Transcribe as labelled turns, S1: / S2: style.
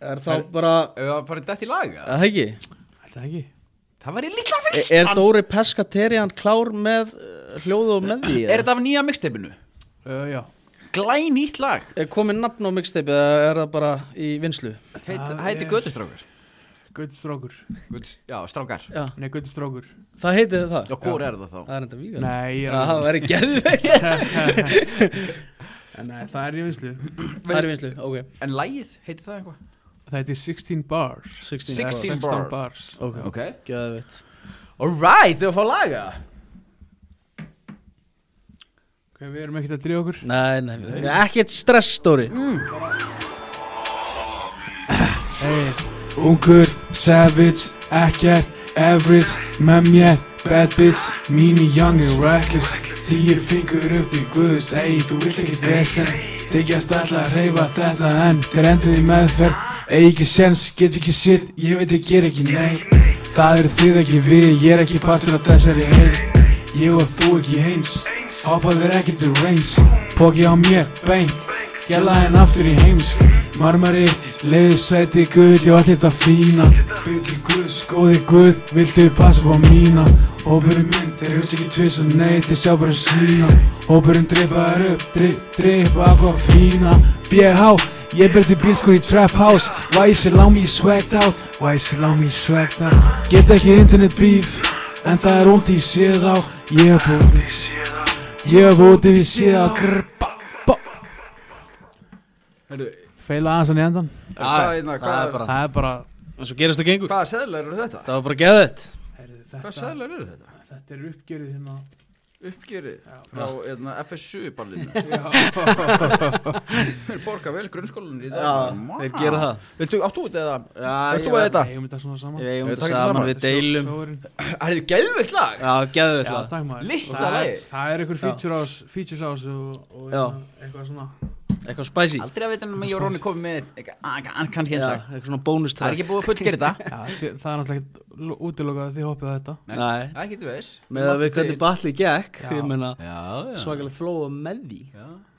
S1: er þá bara
S2: Ef það farið dætt í laga
S1: að það ekki E-
S3: Ætla ekki
S2: Það var í litla
S1: er,
S2: fyrst
S1: er Dóri Pescaterian klár með uh, hljóð og með því
S2: Er
S1: eða?
S2: þetta af nýja mixteipinu?
S3: uh, Já
S2: Glæn nýtt lag
S1: er komið nafn á mixtape eða er það bara í vinslu
S2: Feit-
S3: Það
S2: Hætti
S3: er-
S2: Götustrákar
S3: Guðstrókur
S2: Götus- Já, strákar
S1: já,
S3: Nei, Guðstrókur
S1: það heiti það
S2: Já, hvor er það þá?
S1: það er enda vígan
S3: Nei, ég er
S1: það
S3: að
S1: væri gerðveikt
S3: En, Nei, það er í vinslu
S1: það er í vinslu, ok
S2: En lagið, heitir það eitthvað?
S3: Það heiti 16 bars
S1: 16,
S2: 16
S3: 16
S2: bars.
S3: bars,
S1: ok,
S2: Ok
S1: gerðveikt
S2: Alright, þau að fá laga
S3: Ok, Við erum ekkert að dríða okkur
S1: nei, nei, nei. ekkert stress Dóri
S2: Mm.
S3: Ungur, savage, ekkert, average Með mér, bad bitch, mini young and reckless Tíu fingur upp til guðs, ei, þú vilt ekki þess en Tegjast alltaf að reyfa þetta en Þeir endur í meðferð, ei, ekki sens, get ekki shit Ég veit ég ger ekki nei Það eru þið ekki við, ég er ekki partur af þessari heilt Ég og þú ekki eins, hoppaður ekkert til reins Póki á mér, bang, Gjalla henn aftur í heimsk Marmari, leiði sæti guð, ég var þetta fína Byggi guðs, góði guð, viltu passa upp á mína Hópurinn minn, þeir hugsa ekki tvisa, nei, þeir sjá bara sína Hópurinn dripaðar upp, drip, drip, aqua fína BH, ég berði bílskur í trap house Why is it long me swagged out, why is it long me swagged out Get ekki internet beef, en það er ónt í séð á Ég er bótið, ég er bótið við séð á Grr, ba, ba
S2: Heyrðu,
S3: Feila aðeins hann í endan
S2: hvað hérna, hvað
S1: það
S2: er
S1: er bara
S3: Það er bara
S1: eins og gerist og gengur
S2: Hvaða seðlar eru þetta?
S1: það var bara gerðveikt
S3: Herðu, þetta,
S2: Hvaða seðlar eru þetta?
S3: þetta er uppgjörið hérna
S2: Uppgjörið
S3: Já.
S2: frá hérna, FSU ballinu Þeir borga vel grunnskólanir í
S1: já,
S2: dag Vá.
S1: við gera það
S2: Viltu áttu út eða?
S1: já,
S2: Veist þú
S1: ég-
S2: að þetta?
S3: Ég myndi það svona saman
S1: við eigum
S2: Við
S1: þetta
S2: tökum
S1: saman,
S2: saman.
S1: við deilum
S3: Sjóurinn.
S2: Það er geðveikt lag
S1: já, gerðveikt
S3: Já,
S1: það
S3: takk maður
S2: Litla
S3: Það er-
S2: lagið.
S3: Það er einhver feature á þessu- features á þessu og, og
S1: Já.
S3: hérna, eitthvað svona
S1: eitthvað spicy
S2: Aldrei að veit hann að ég og Róni komið með eitthvað- ah, kann- kannski eins
S1: Já,
S2: lag
S1: eitthvað svona
S2: Það er
S1: bónustræk
S2: ekki búið að fullgera þetta
S3: Já, þi- Það er náttúrulega ekkert útilokað að þið hoppið á þetta
S2: Nei.
S1: Nei,
S2: Það getur veis
S1: með að við hvernig batlið gekk
S3: Já.
S1: ég meina
S2: Já, já
S1: svakalegt flóa með því
S2: Já.